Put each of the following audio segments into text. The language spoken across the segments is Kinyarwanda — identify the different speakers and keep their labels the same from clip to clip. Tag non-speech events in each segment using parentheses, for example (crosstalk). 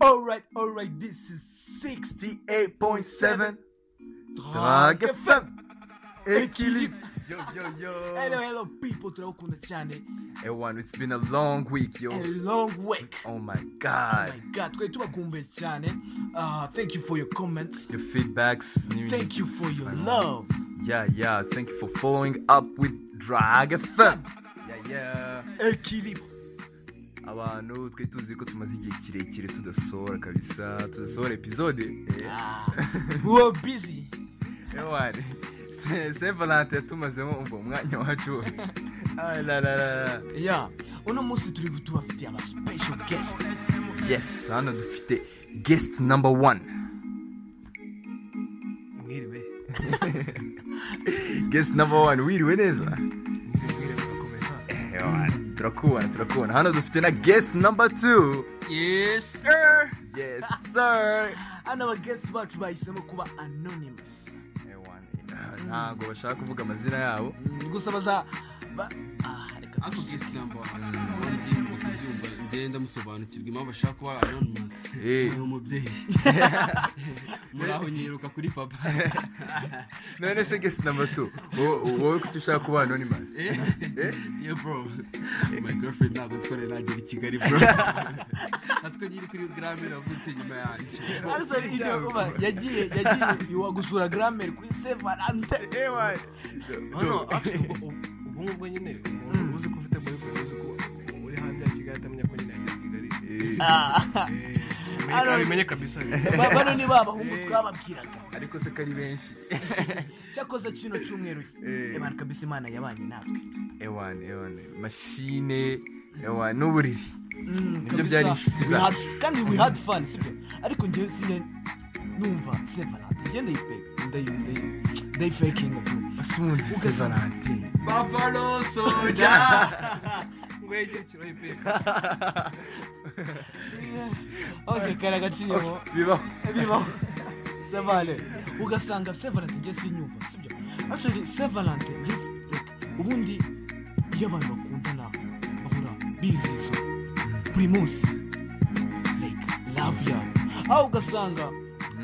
Speaker 1: Alright, alright, this is 68.7 Drag FM Equilibre.
Speaker 2: Yo, yo, yo.
Speaker 1: Hello, hello, people to the Okunda channel.
Speaker 2: Everyone, it's been a long week, yo.
Speaker 1: A long week.
Speaker 2: Oh my
Speaker 1: Oh
Speaker 2: god.
Speaker 1: my god, twetuva kumbe chane. Uh, thank you for your comments.
Speaker 2: Your feedbacks. new
Speaker 1: Thank you for your
Speaker 2: I know.
Speaker 1: love.
Speaker 2: Yeah, yeah. Thank you for following up with Drag FM. Yeah, yeah.
Speaker 1: Equilibre.
Speaker 2: abantu twari tuzi ko tumaze igihe kirekire tudasohora kabisa tudasohora episode
Speaker 1: Ah, we're busy.
Speaker 2: (laughs) ewani se valante yatumazemo umva umwanya
Speaker 1: (laughs)
Speaker 2: wacu wose Ah, la, la, la, la.
Speaker 1: Yeah. Uno munsi turi tubafitiye aba special guest.
Speaker 2: yes hano dufite guest number one
Speaker 3: mwiriwe
Speaker 2: (laughs) guest number one wiriwe neza
Speaker 3: mwiriwe murakomeza
Speaker 2: Ewani, turakubona turakubona hano dufite na guest number two
Speaker 1: Yes, sir.
Speaker 2: yes sir
Speaker 1: Hano abaguest bacu bahisemo kuba anonymous.
Speaker 2: Ewani, ntabwo Ah, bashaka kuvuga amazina yabo
Speaker 1: Mm, Gusa baza ba- ah, reka
Speaker 3: ako gesi namba wahanaabyumva ndende ndamusobanukirwa impamvu ashaka kuba anonymous
Speaker 2: Eh.
Speaker 3: ni
Speaker 2: (laughs)
Speaker 3: umubyeyi muraho nyiruka kuri papa
Speaker 2: none se guest number two wo- wowe kuki ushaka kuba anonymous
Speaker 3: Eh?
Speaker 2: Eh?
Speaker 3: Yeah, bro. my girlfriend ntabwo zikore nagera i kigali
Speaker 2: (laughs)
Speaker 3: bro aziko nyiri kuri grame ravutse nyuma yanjye
Speaker 1: Actually, iryo kuba yagiye yagiye wagusura grammar kuri Severante.
Speaker 2: Ewani.
Speaker 3: Oh,
Speaker 4: hano actually, ubu ubu ngubwo nyine umuntu uzi ko ufite boyfriend uzi ko uri hanze ya kigali atamenya ko nyine yageze i kigali
Speaker 2: Eh,
Speaker 1: (laughs) Ah,
Speaker 4: Eh,
Speaker 1: Hano-
Speaker 4: abimenye kabisa
Speaker 1: ba- bano ni ba bahungu twababwiraga.
Speaker 2: ariko se ko ari benshi
Speaker 1: cyakoze kino cyumweru
Speaker 2: Eh.
Speaker 1: abantu kabisa imana yabanye natwe
Speaker 2: ewani ewani mashine ewani n'uburiri
Speaker 1: Mm, kabisa.
Speaker 2: byari inshuti
Speaker 1: We
Speaker 2: zacu.
Speaker 1: had- kandi we had fun sibyo ariko njyewe sine numva sevarante njye ndayipeka ndayifakinga (laughs)
Speaker 2: asundi se valentine (laughs)
Speaker 3: buffalo soja
Speaker 4: ngwegere kiroye pe
Speaker 1: okay kare agaciyemo
Speaker 2: bibaho
Speaker 1: (laughs) bibaho sevale ugasanga sevarante njye sinyumva sibyo actually sevarante njye si- like, ubundi iyo abantu bakundana bahora bizizo buri munsi like love yabo aho ugasanga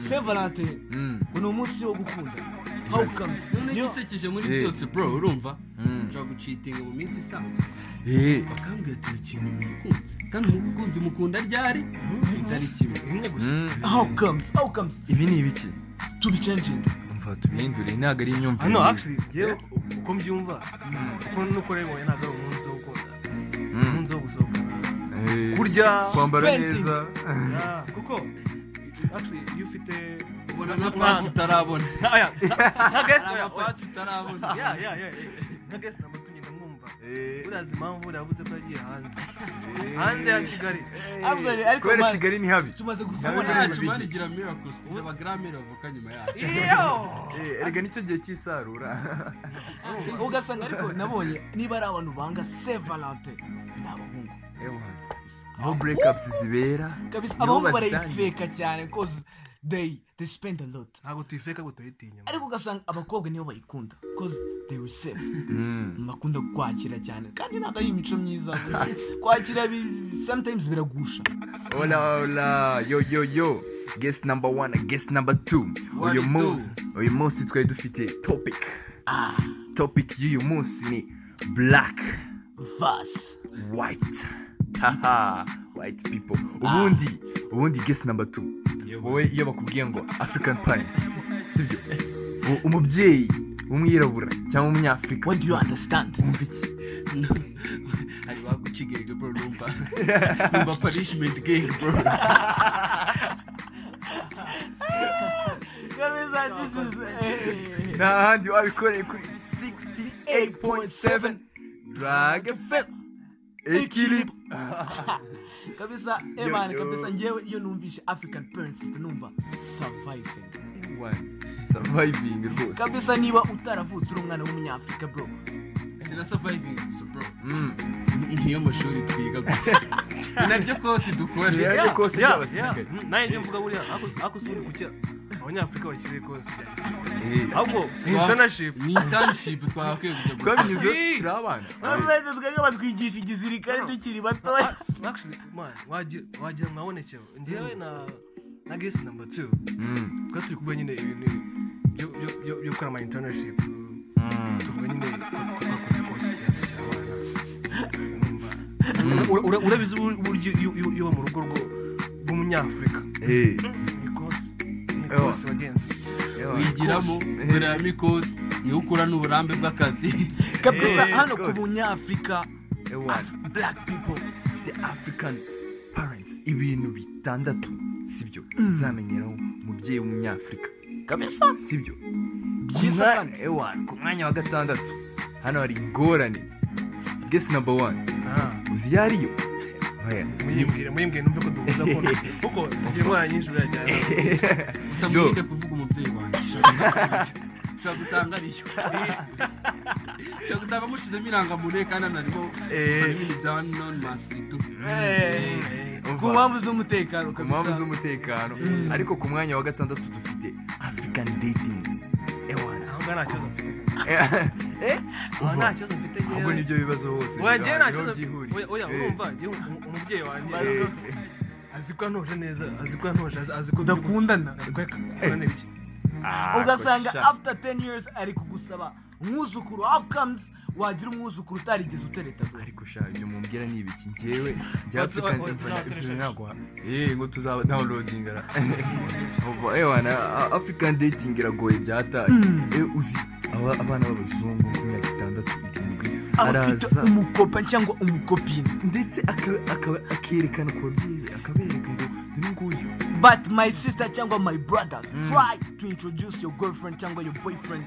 Speaker 1: sevarante
Speaker 2: Mm,
Speaker 1: ngo ni umunsi wo gukunda how comes
Speaker 3: none
Speaker 1: niyo
Speaker 3: gisekeje muri
Speaker 2: Eh.
Speaker 3: byose bro urumva
Speaker 2: mm.
Speaker 3: nshobora gucitinga mu minsi isanzwe
Speaker 2: Eh,
Speaker 3: bakambwira ati ikintu mukunzi kandi umukunzi mukunda ryari ritari kimwe
Speaker 4: rimwe gusa
Speaker 2: mm.
Speaker 1: how comes how comes
Speaker 2: ibi ni ibiki
Speaker 1: to be changing
Speaker 2: umva tubihindure ntabwo ari imyumvire
Speaker 4: hano
Speaker 2: myiza.
Speaker 4: Ah, actually njyewe uko mbyumva uko nuko rero ubonye ntabwo ari umunsi wo koga
Speaker 2: Mm.
Speaker 4: umunsi wo gusohoka
Speaker 2: Eh,
Speaker 4: kurya
Speaker 2: kwambara
Speaker 1: Painting.
Speaker 2: neza
Speaker 4: Ah, kuko actually iyo ufite
Speaker 3: ubona na pasi utarabona
Speaker 4: Na- oya, na- na guest,
Speaker 3: hari
Speaker 4: oya, oya.
Speaker 3: amapasi utarabona
Speaker 4: Yeah, yeah, yeah, yeah. na guest number two nyine mwumva
Speaker 2: Eh,
Speaker 4: urazi impamvu yavuze ko yagiye hanze
Speaker 2: eh.
Speaker 4: hanze ya kigali
Speaker 1: Actually, ariko
Speaker 2: kubera
Speaker 1: ma-
Speaker 2: kigali ni habi
Speaker 1: tumaze
Speaker 3: ubu
Speaker 1: kubona
Speaker 3: ntacu banigira miracles tugira abagrammar bavuka nyuma yacu
Speaker 4: iyo
Speaker 2: Eh, erega nicyo gihe (laughs) cy'isarura
Speaker 1: ugasanga ariko nabonye niba ari abantu banga sevarante ni abahungu
Speaker 2: Ewa, aho breakups zibera
Speaker 1: kabisa
Speaker 2: niho
Speaker 1: abahungu
Speaker 2: bazitangiza.
Speaker 1: barayifeka cyane cause they they spend a lot
Speaker 4: ntabwo tuyifeka ngo tuyitinya
Speaker 1: ariko ugasanga abakobwa nibo bayikunda cause they receive
Speaker 2: Mm.
Speaker 1: bakunda kwakira cyane kandi ntabwo ari imico
Speaker 2: (laughs)
Speaker 1: myiza kwakira bi- sometimes biragusha
Speaker 2: Hola, hola, yo, yo, yo. Guest number one na guest number two.
Speaker 3: One
Speaker 2: Uyu
Speaker 3: and
Speaker 2: munsi, uyu munsi twari dufite topic.
Speaker 1: ah
Speaker 2: Topic y'uyu munsi ni black,
Speaker 1: vas
Speaker 2: white. (laughs) Haha, white people. Ubundi, ubundi guest number two. Wowe iyo bakubwiye ngo African pie, sibyo? U- Umubyeyi w'umwirabura cyangwa umunyafurika.
Speaker 1: what do you understand
Speaker 2: Wumva iki?
Speaker 3: No. hari baguca igenge bro numva
Speaker 4: (laughs)
Speaker 3: numva punishment gang bro
Speaker 1: kabisa this is eh,
Speaker 2: Nta handi wabikoreye kuri 68.7 Drag FM. Equilibre.
Speaker 1: kabisa eman
Speaker 2: yo.
Speaker 1: kabisa ngewe iyo numvishe african parents numva surviving
Speaker 2: One. Surviving rwose.
Speaker 1: kabisa niba utaravutse uri umwana w'umunyafurika bro
Speaker 3: sina surviving gusa bro
Speaker 2: Mm.
Speaker 3: niyo mashuri twiga gusa ni naryo kose dukora
Speaker 2: Yeah.
Speaker 4: Yeah,
Speaker 2: kose
Speaker 4: yeah,
Speaker 2: by'abasirikare.
Speaker 4: yeah. Mm, nawe njye mvuga buriya ako- ako si uri kuki- abanyafurika bakiri rwose
Speaker 2: Eh,
Speaker 4: ahubwo ni internship
Speaker 3: ni internship twagakwiye kujya gukora
Speaker 2: twabinyuzeho tukiri abana
Speaker 1: Urabona twebwe batwigisha igizirikare tukiri batoya
Speaker 4: actually man wagira wagira mwabonekera njyewe na na guest number 2
Speaker 2: Mm,
Speaker 4: twari turi kuvuga nyine ibintu byo- byo- byo- byo gukora ama internship
Speaker 2: mm.
Speaker 4: tuvuga nyine ko- ko twakoze course cyane cy'abana Ura- ura- urabizi ubu- uburyo iyo- iyo iyo uba mu rugo rwo- rw'umunyafurika
Speaker 2: Eh,
Speaker 4: ni course ni
Speaker 2: Ewa.
Speaker 4: course wagenze
Speaker 2: yawa.
Speaker 3: wigiramo mbere ya mikosi niho ukura n'uburambe bw'akazi
Speaker 1: kabisa
Speaker 2: Eh,
Speaker 1: hano ku
Speaker 2: rwose.
Speaker 1: bunyafurika
Speaker 2: Ewa,
Speaker 1: black people
Speaker 2: ufite african parents ibintu bitandatu sibyo uzamenyeraho umubyeyi w'umunyafurika
Speaker 1: Mm. kabisa
Speaker 2: sibyo
Speaker 1: byiza
Speaker 2: Ku mwa-
Speaker 1: kandi
Speaker 2: ewa ku mwanya wa gatandatu hano hari ingorane guess number one
Speaker 4: Ah.
Speaker 2: uzi iyo ariyo Oya.
Speaker 4: muyimbwire muyimbwire numve ko duhuza mbona kuko tugiye mwana nyinshi buriya cyane
Speaker 2: Do.
Speaker 3: gusa mwirinde kuvuga umubyeyi
Speaker 2: (laughs)
Speaker 3: wanjye ushobora gusanga arishywa ushobora gusanga amushyizemo irangamuntu kandi hano harimo
Speaker 2: Eh.
Speaker 3: family down non masiritu
Speaker 1: Eh,
Speaker 2: Umva.
Speaker 1: ku mpamvu z'umutekano
Speaker 2: Mm. ku mpamvu
Speaker 1: kabisa
Speaker 2: z'umutekano
Speaker 1: Mm.
Speaker 2: ariko ku mwanya wa gatandatu dufite african dating ewa
Speaker 4: aho ngaho nta kibazo mfite
Speaker 2: eh
Speaker 4: aho
Speaker 2: umva.
Speaker 4: nta kibazo mfite
Speaker 2: (laughs) ahubwo
Speaker 4: ngewe
Speaker 2: nibyo bibazo hose
Speaker 4: Oya, njyewe nta
Speaker 2: niho
Speaker 4: kibazo
Speaker 2: byihuriye.
Speaker 4: oya, oya
Speaker 2: Eh,
Speaker 4: urumva njyewe umu- umubyeyi wanjye
Speaker 2: eh,
Speaker 4: azi ko antoje neza azi ko antoje azi- azi ko
Speaker 1: udakundana
Speaker 4: dukundana iki
Speaker 2: ah,
Speaker 1: ugasanga
Speaker 2: koresha.
Speaker 1: after 10 years ari kugusaba umwuzukuru how comes wagira umwuzukuru utarigeze utereta dore
Speaker 2: ariko sha ibyo mumbwira ni ibiki (laughs) njyewe njya
Speaker 4: Watu-
Speaker 2: african
Speaker 4: watu-
Speaker 2: umva,
Speaker 4: watu-
Speaker 2: ibyo ntabwo wa- eh ngo tuzaba downloading ara (laughs) Umva, eh, wana, a- african dating iragoye byataye
Speaker 1: Mm.
Speaker 2: eh uzi aba- abana b'abazungu ku myaka itandatu irindwi
Speaker 1: abafite
Speaker 2: araza
Speaker 1: umukopa cyangwa umukopine
Speaker 2: ndetse aka- aka- akerekana ku babyeyi be, akabereka ngo dore nguyu
Speaker 1: but my sister cyangwa my brother
Speaker 2: Mm.
Speaker 1: try to introduce your girlfriend cyangwa your boyfriend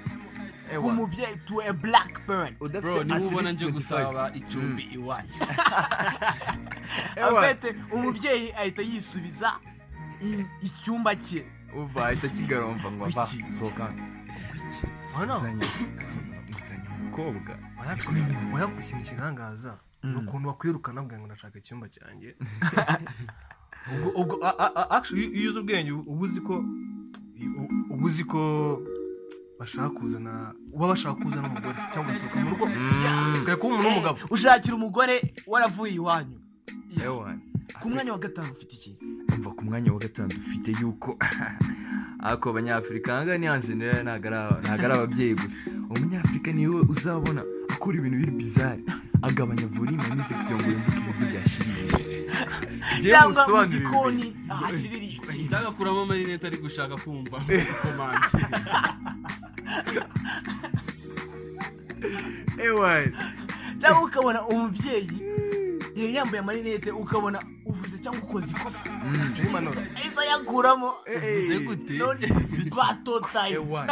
Speaker 1: umubyeyi to a black parent
Speaker 2: udafite
Speaker 3: bro
Speaker 2: at
Speaker 3: niba
Speaker 2: least
Speaker 3: ubona nje
Speaker 2: 25.
Speaker 3: gusaba icumbi
Speaker 2: Mm.
Speaker 3: iwanyu
Speaker 2: Ewa.
Speaker 1: afite umubyeyi ahita yisubiza i- icyumba cye
Speaker 2: uva ahita kigaromba ngo ava
Speaker 1: Wiki.
Speaker 2: sohoka hano.
Speaker 4: Oya, no.
Speaker 2: Uzanye- uzanye umukobwa
Speaker 4: Oya, ku- oya, ku kintu kirangaza ni ukuntu wakwirukana bwangu ndashaka icyumba cyanjye ubwo ubwo a- a- a- actually iyo uzi ubwenge uba uzi ko uba uzi ko bashaka kuzana uba bashaka kuzana umugore cyangwa gusohoka mu rugo kare kuba umuntu w'umugabo
Speaker 1: Eh, ushakira umugore waravuye iwanyu
Speaker 2: Ewa.
Speaker 1: ku mwanya wa gatanu ufite iki
Speaker 2: umva ku mwanya wa gatanu dufite yuko (laughs) ako abanyafurika ahangaha ni anjenera ntabwo ari aba- ntabwo ari ababyeyi gusa umunyafurika niwe uzabona akora ibintu biri bizari agabanya volime yamize kugira ngo yumve ko ibiryo byashiririye Njyewe
Speaker 1: cyangwa mu
Speaker 2: musobanurire
Speaker 1: gikoni
Speaker 2: ibintu.
Speaker 1: ahashiririye iki
Speaker 3: cyangwa akuramo amarinete ari gushaka
Speaker 2: (laughs)
Speaker 3: kumva komande
Speaker 2: ewa
Speaker 1: cyangwa ukabona umubyeyi yari yambaye amarinete ukabona uvuze cyangwa ukoze ikosa ahita ayakuramo
Speaker 2: Eh, eh.
Speaker 3: gute
Speaker 1: none bato time
Speaker 2: ewa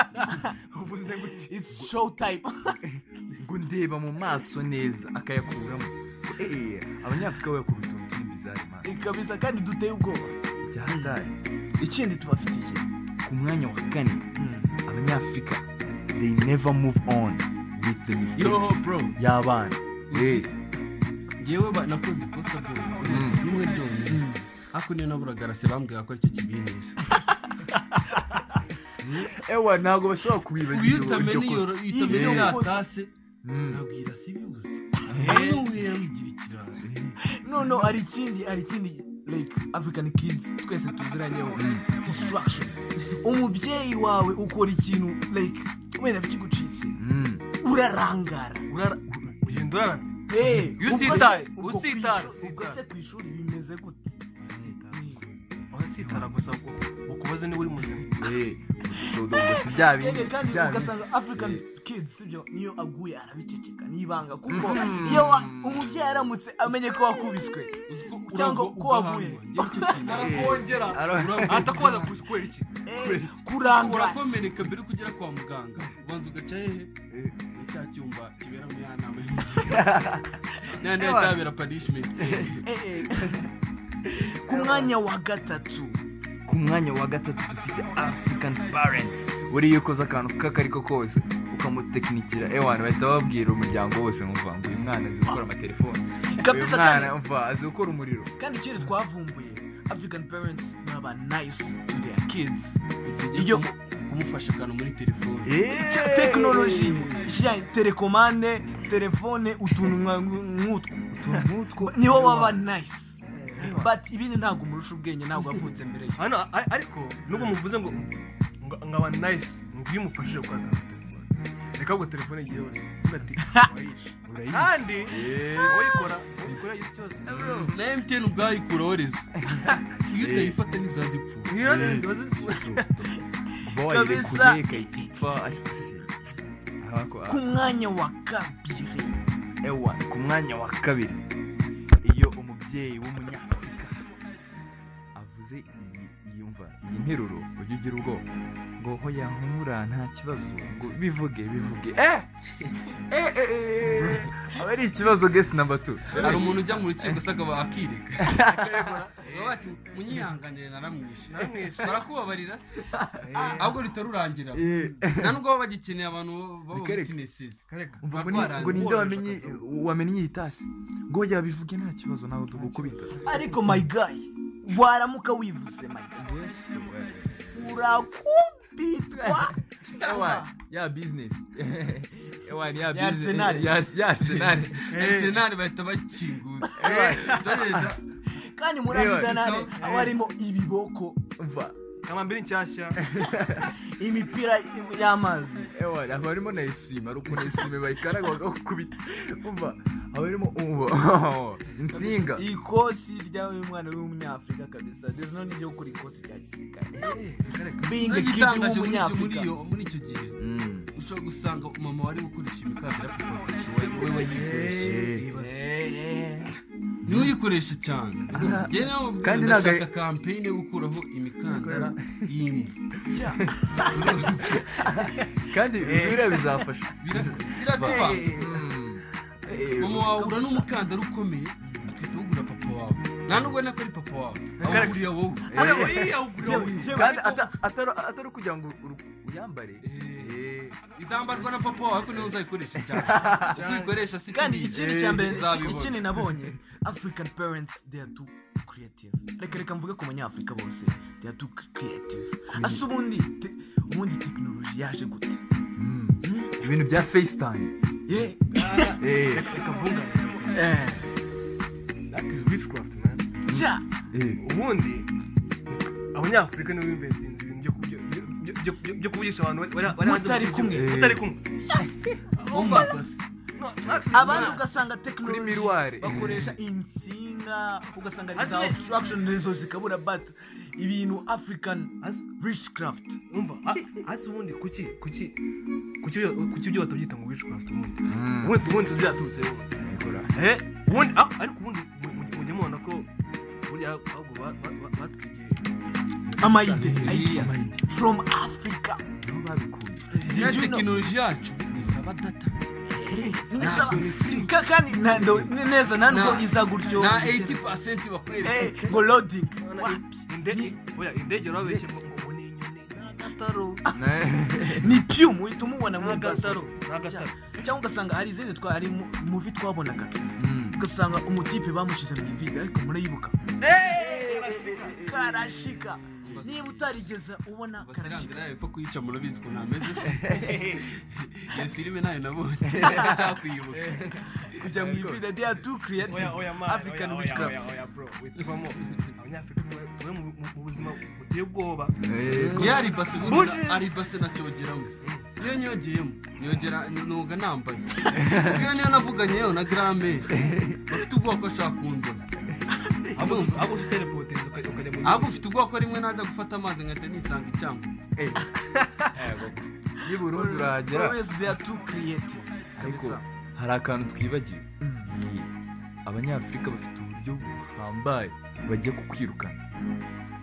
Speaker 4: uvuze gutya
Speaker 1: it's show time
Speaker 2: ngo ndeba mu maso neza akayakuramo Eh, eh, abanyafurika bayakura utuntu turi bizari mani
Speaker 1: kabisa kandi duteye ubwoba
Speaker 2: byahatari
Speaker 1: ikindi tubafite iki
Speaker 2: ku mwanya wa kane
Speaker 1: Hmm.
Speaker 2: abanyafurika they never move on with the
Speaker 3: yo
Speaker 2: mistakes
Speaker 3: bro
Speaker 2: y'abana
Speaker 3: Eh. yewe ba- nakoze ikosa bro
Speaker 2: Mm.
Speaker 3: rimwe byonyine hakuno naburagarase bambwira ko aricyo kibinisha
Speaker 2: ewa ntabwo bashobora
Speaker 3: uyu
Speaker 2: kubibagira iryo
Speaker 3: utamenya
Speaker 2: kosa
Speaker 3: utamenya
Speaker 2: Eh.
Speaker 3: yakase
Speaker 2: Mm.
Speaker 3: nabwira si bibuze none wera wigira ikirara
Speaker 1: noneho hari ikindi hari ikindi like african kids twese tuziranyeho
Speaker 2: Mm.
Speaker 1: distraction umubyeyi wawe ukora ikintu like wenda bikigucitse
Speaker 2: Mm.
Speaker 1: urarangara
Speaker 4: urara ugenda uraramye
Speaker 1: Eh,
Speaker 4: Iyo
Speaker 1: ubwo se-
Speaker 4: usitaye,
Speaker 1: ubwo ku
Speaker 4: usitaye,
Speaker 1: ishuri- ubwo se ku ishuri bimeze gute
Speaker 4: urasitara gusa ukubaze niba uri muzima
Speaker 1: (laughs)
Speaker 2: Eh, ubwo- ubwo- ubwo si bya bindi
Speaker 1: Keke
Speaker 2: si
Speaker 1: kandi
Speaker 2: bya bindi
Speaker 1: ugasanga african kids sibyo niyo aguye arabiceceka nibanga kuko
Speaker 2: Mhm.
Speaker 1: iyo wa- umubyeyi aramutse amenye ko wakubiswe cyangwa ko waguye
Speaker 2: Eh.
Speaker 4: arakongera
Speaker 2: Ara-
Speaker 4: atakubaza kubera iki
Speaker 1: Eh, kurangara
Speaker 3: urakomereka mbere yo kugera kwa muganga ubanza ugaca hehe
Speaker 2: Eh.
Speaker 3: Ni cya cyumba kibera mu yanama nandi
Speaker 2: Ewa.
Speaker 3: yatabera punishment
Speaker 1: Eh, eh. ku mwanya wa gatatu
Speaker 2: ku mwanya wa gatatu dufite african parents buriya iyo ukoze akantu k'akariko kose ukamutekinikira ewana bahita babwira umuryango wose nkumva ngo uyu mwana azi gukora amatelefoni uyu
Speaker 1: Kabisa
Speaker 2: mwana
Speaker 1: kandi-
Speaker 2: umva azi gukora umuriro
Speaker 1: kandi ikindi twavumbuye african parents baba nice to their kids
Speaker 3: iyo kumufasha akantu muri telefone
Speaker 2: Eh.
Speaker 1: Cya tekinoloji ya telekomande telefone utuntu nka- nk'utwo
Speaker 2: utuntu nk'utwo
Speaker 1: nibo baba nice but ibindi ntabwo umurusha ubwenge ntabwo wavutse mbere ye
Speaker 4: hano a- a- ariko nubwo muvuze ngo ngo- ngaba nayisi ngo iyo umufashije gukora aka telefone reka ahubwo telefone igihe yose uvuga (laughs) ati urayishe kandi uyikora uyikora igihe cyose
Speaker 3: na emutiyeni ubwayo ikorohereza iyo utayifata ntizazipfuye
Speaker 4: Niyo zibaze
Speaker 2: kuba wayirekure
Speaker 1: Kabisa.
Speaker 2: ikahita ariko si Ahako, ah,
Speaker 1: ku mwanya wa kabiri
Speaker 2: ewa ku mwanya wa kabiri iyo umubyeyi w'umunyafurika avuze iyi iyi mva iyi nteruro ujya ugira ubwoba ngo ho yankura nta kibazo ngo bivuge bivuge eh eh eh, eh aba ari ikibazo gesi namba tu
Speaker 3: hari umuntu ujya mu rukiko se akaba akireka baba bati munyihanganire naramwishe
Speaker 4: (laughs) Naramwishe.
Speaker 3: barakubabarira se ahubwo ritarurangira
Speaker 2: Eh,
Speaker 3: nta nubwo baba bagikeneye abantu baba
Speaker 2: Bikareka.
Speaker 3: bitinesizi
Speaker 4: kareka
Speaker 2: Umva ngo ni- ngo ninde wamenye wamenye iyi tasi ngo yabivuge nta kibazo nawe tugukubita
Speaker 1: ariko my guy waramuka wivuze my guy
Speaker 2: yesu we.
Speaker 1: urakubitwa
Speaker 2: Ewa, ya business. (laughs) Ewa ni ya
Speaker 1: Ya
Speaker 2: business.
Speaker 1: Arsenal.
Speaker 2: Ya, ya (laughs) Arsenal.
Speaker 3: arisenali bahita bakinguza doreza
Speaker 1: kandi muri
Speaker 2: Ewa,
Speaker 1: arsenal
Speaker 4: ikaw-
Speaker 1: haba harimo ibiboko
Speaker 2: Umva,
Speaker 4: kama mbiri nshyashya
Speaker 1: imipira y'amazi
Speaker 2: ewa haba harimo na eswime ari uko na eswime bayikaraga bakagukubita umva haba harimo umva (laughs) insinga
Speaker 1: ikosi ry'uyu mwana w'umunyafurika kabisa there's no need yo kuri ikosi rya gisirikare being a kid
Speaker 3: igitangaje muri icyo- muri
Speaker 1: w'umunyafurika
Speaker 3: iyo- muri icyo gihe
Speaker 2: Mm.
Speaker 3: ushobora gusanga mama wari gukoresha imikandara papa wakoresha we we wayikoresha
Speaker 1: Eh, eh.
Speaker 3: niwe uyikoresha cyane
Speaker 2: Ah.
Speaker 3: ngewe
Speaker 2: Kandi
Speaker 3: kandi
Speaker 2: ntabwo
Speaker 3: nashaka kampeyini yo gukuraho imikandara y'imwe
Speaker 1: Yeah.
Speaker 2: kandi biriya bizafasha
Speaker 3: Bira- biratuba
Speaker 2: Mm. Eh,
Speaker 3: mama wawe ura n'umukandara ukomeye akahita awugura papa wawe nta nubwo nako ari papa wawe awuguriye wowe
Speaker 2: eh,
Speaker 1: Yewe, yewe,
Speaker 2: kandi ata- atari atari ukugira ngo uru- uyambare Eh,
Speaker 3: izambarwa na papa wawe ariko niwe uzayikoresha cyane uko uyikoresha si
Speaker 1: kandi
Speaker 3: kiriya.
Speaker 1: ikindi cya mbere
Speaker 3: Nzabibona.
Speaker 1: ikindi nabonye african parents they are too creative reka reka mvuge ku banyafurika bose they are too creative asa ubundi te- ubundi tekinoloji yaje gute
Speaker 2: mm. ibintu bya facetime
Speaker 1: ye
Speaker 2: Eh,
Speaker 4: reka bunga
Speaker 1: eh
Speaker 4: that is witchcraft man
Speaker 1: yeah
Speaker 2: eh.
Speaker 4: ubundi abanyafurika nibo bimvenzinze ibintu byo kubyo- byo- byo- byo- byo- byo kuvugisha abantu bari- bari hanze mu
Speaker 1: Mutari
Speaker 4: gihugu.
Speaker 1: kumwe.
Speaker 4: mutari kumwe
Speaker 3: umva gusa
Speaker 1: abandi ugasanga tekinoloji
Speaker 2: miruwari.
Speaker 1: bakoresha insinga ugasanga ari za
Speaker 4: Azi-
Speaker 1: obstruction rezo zikabura but ibintu african
Speaker 4: Azi-
Speaker 1: richcraft
Speaker 4: umva a- hasi ah, ubundi kuki kuki kuki byo- kuki ibyo batabyita ngo witchcraft ubundi
Speaker 2: Mm.
Speaker 4: ubundi ubundi byaturutse ubundi
Speaker 2: Bikora.
Speaker 4: Eh, ubundi ah, ariko ubundi mu- mu- mujye mubona ko buriya ahubwo ba- ba- ba- batwigiye
Speaker 1: amayide
Speaker 3: Yeah.
Speaker 1: from africa
Speaker 2: niho babikuye
Speaker 3: iriya
Speaker 1: you know-
Speaker 3: tekinoloji yacu isaba data Ah,
Speaker 1: Nisaba- Ka- kandi nando- ne- neza nanubwo
Speaker 3: Na-
Speaker 1: iza gutyo
Speaker 3: na 80% bakwereka
Speaker 1: Eh, ngo loading
Speaker 4: Urabona
Speaker 1: Wa-
Speaker 4: i- indege oya indege urabeshye ngo ubu ni inyoni ni agataro
Speaker 2: Mm.
Speaker 1: ni pyumu uhita umubona
Speaker 4: ni
Speaker 1: mu
Speaker 4: agataro
Speaker 1: gasaro
Speaker 4: ni agataro
Speaker 1: cyangwa ugasanga hari izindi twa hari mu- muvi twabonaga
Speaker 2: Mm.
Speaker 1: ugasanga umutipe bamushyize mu ivide ariko murayibuka karashika niba utarigeze ubona karashika
Speaker 3: basirangira yepfo kuyica murabizi ukuntu hameze iyo filime nayo nabonye cyakuyibuka
Speaker 1: kujya mu ivide they are too
Speaker 4: oya
Speaker 1: creative
Speaker 4: oya ma
Speaker 1: african
Speaker 4: oya oya oya
Speaker 1: witchcraft
Speaker 4: oya bro witumamo abanyafurika tube- tube mu- mu- mu buzima buteye ubwoba
Speaker 2: Eh,
Speaker 3: niyo ari base burya
Speaker 4: Bushes.
Speaker 3: ari base nacyogeramo iyo nyogeyemo nyogera noga nambaye kuko iyo niyo navuganye yewe na grame bafite ubwoba ko ashaka kundura
Speaker 4: ahubwo ahubwo utelepoteza ukajya mu
Speaker 3: ahubwo ufite ubwoba ko rimwe najya gufata amazi nkahita nisanga icyango
Speaker 2: eh. N'i Burundi urahagera
Speaker 1: always they are too creative
Speaker 2: ariko
Speaker 1: Kabisa.
Speaker 2: hari akantu twibagiwe
Speaker 1: Mm.
Speaker 2: Ni abanyafurika bafite uburyo buhambaye bagiye kukwirukana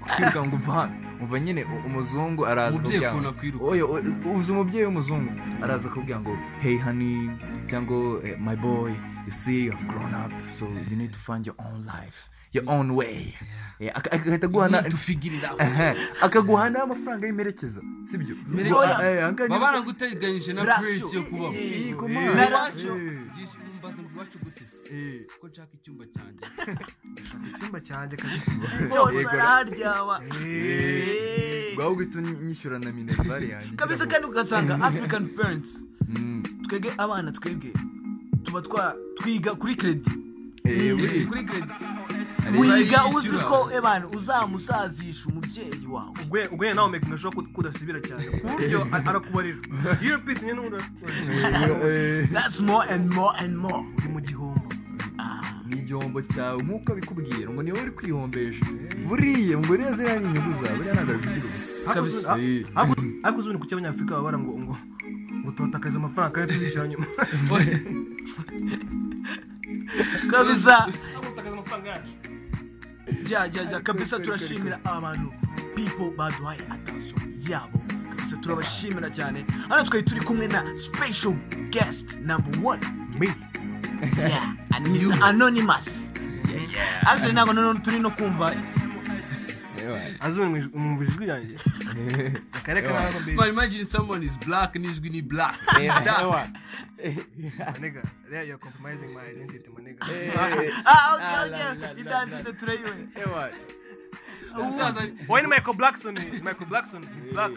Speaker 2: kukwirukana ngo uva hano umva nyine u- umuzungu araza
Speaker 3: Umubyeyi
Speaker 2: akakubwira ngo-
Speaker 3: ukuntu akwiruka.
Speaker 2: oya o- uzi umubyeyi w'umuzungu araza akakubwira ngo hey honey cyangwa eh, my boy you see you have grown up so you need to find your own life your own way Eh, aka- agahita aguha na- (laughs) Ehe, akaguha n'amafaranga y'imperekeza sibyo
Speaker 3: Mere-
Speaker 2: Ngo- eh, ahanganye
Speaker 3: baba
Speaker 2: bisa-
Speaker 3: baraguteganyije na
Speaker 1: Ratio.
Speaker 3: puresi yo kubaho
Speaker 2: Eh, koma.
Speaker 3: Eh,
Speaker 1: Na
Speaker 3: iwacu
Speaker 1: ratio.
Speaker 3: byinshi mbaza ngo iwacu gute
Speaker 2: Eh,
Speaker 3: ko nshaka icyumba cyanjye
Speaker 4: icyumba cyanjye kabisa
Speaker 2: Yego.
Speaker 1: bose araharyama
Speaker 2: Eh, waba uhita unyishyura na minerivare yanjye "Mm,
Speaker 1: kabisa kandi ugasanga african parents twebwe abana twebwe tuba twa twiga kuri credit
Speaker 2: ewe
Speaker 1: kuri credit Mm.
Speaker 2: Ari-
Speaker 1: wiga uzi ko ebana uzamusazisha umubyeyi wawe
Speaker 4: ubwo nawe mekinga ashobora ko kudasubira cyane ku buryo a- arakubarira iyo upisinye n'ubundi arakubarira
Speaker 2: Eh,
Speaker 1: that's more and more and more
Speaker 4: uri mu gihombo
Speaker 2: ni igihombo cyawe nk'uko abikubwira ngo niwe uri kwihombesha buriya ngo rero ziriya ni inyungu zawe buriya ntabwo abigira
Speaker 4: Hakuzi-
Speaker 1: Ah.
Speaker 4: ha-
Speaker 2: Eh.
Speaker 4: hakuzi- hakuzi ubundi kuki abanyafurika baba bara ngo ngo ngo tubatakaze amafaranga kandi tuzishyura nyuma
Speaker 1: kabisa
Speaker 4: tuzatakaza amafaranga yacu
Speaker 1: jya jya jya kabisa turashimira abantu people baduhaye attention yabo kabisa turabashimira cyane hano twari turi kumwe na special guest number
Speaker 2: (laughs)
Speaker 1: one
Speaker 2: me
Speaker 1: yeah and Mr. anonymous actually ntabwo noneho turi no kumva
Speaker 4: azure mwumva ijwi ryanjye akarere
Speaker 2: Ewa.
Speaker 4: karaza mbere
Speaker 3: But imagine someone is black n'ijwi ni black
Speaker 2: ewa
Speaker 4: manega rero you are compromising my identity manega
Speaker 1: ah oke oke idandite turayibona
Speaker 2: ewa
Speaker 3: umusaza
Speaker 4: wowe ni michael blackson michael blackson is black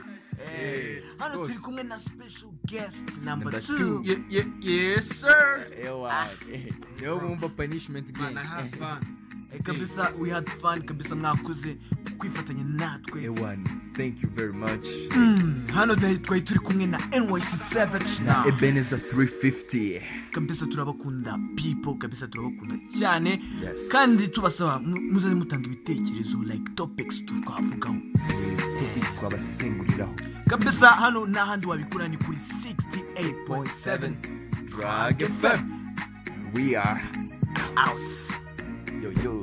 Speaker 1: hano turi kumwe na special guest number
Speaker 2: Number
Speaker 1: two Eh,
Speaker 2: two.
Speaker 3: Ye- ye- yes sir
Speaker 2: ewa niwe wumva punishment
Speaker 3: man I have
Speaker 2: gang
Speaker 3: fun
Speaker 1: Eh, kabisa we had fun kabisa mwakoze kwifatanya natwe
Speaker 2: ewa thank you very much
Speaker 1: Mm, hano dai- twari turi kumwe na nyc savage
Speaker 2: na
Speaker 1: na
Speaker 2: ebeneza 350
Speaker 1: kabisa turabakunda people kabisa turabakunda cyane
Speaker 2: Yes.
Speaker 1: kandi tubasaba mu- muzaze mutanga ibitekerezo like topics twavugaho
Speaker 2: topics twabasesenguriraho
Speaker 1: kabisa hano n'ahandi wabikura ni kuri 68.7
Speaker 2: drag fm we are
Speaker 1: out
Speaker 2: yo yo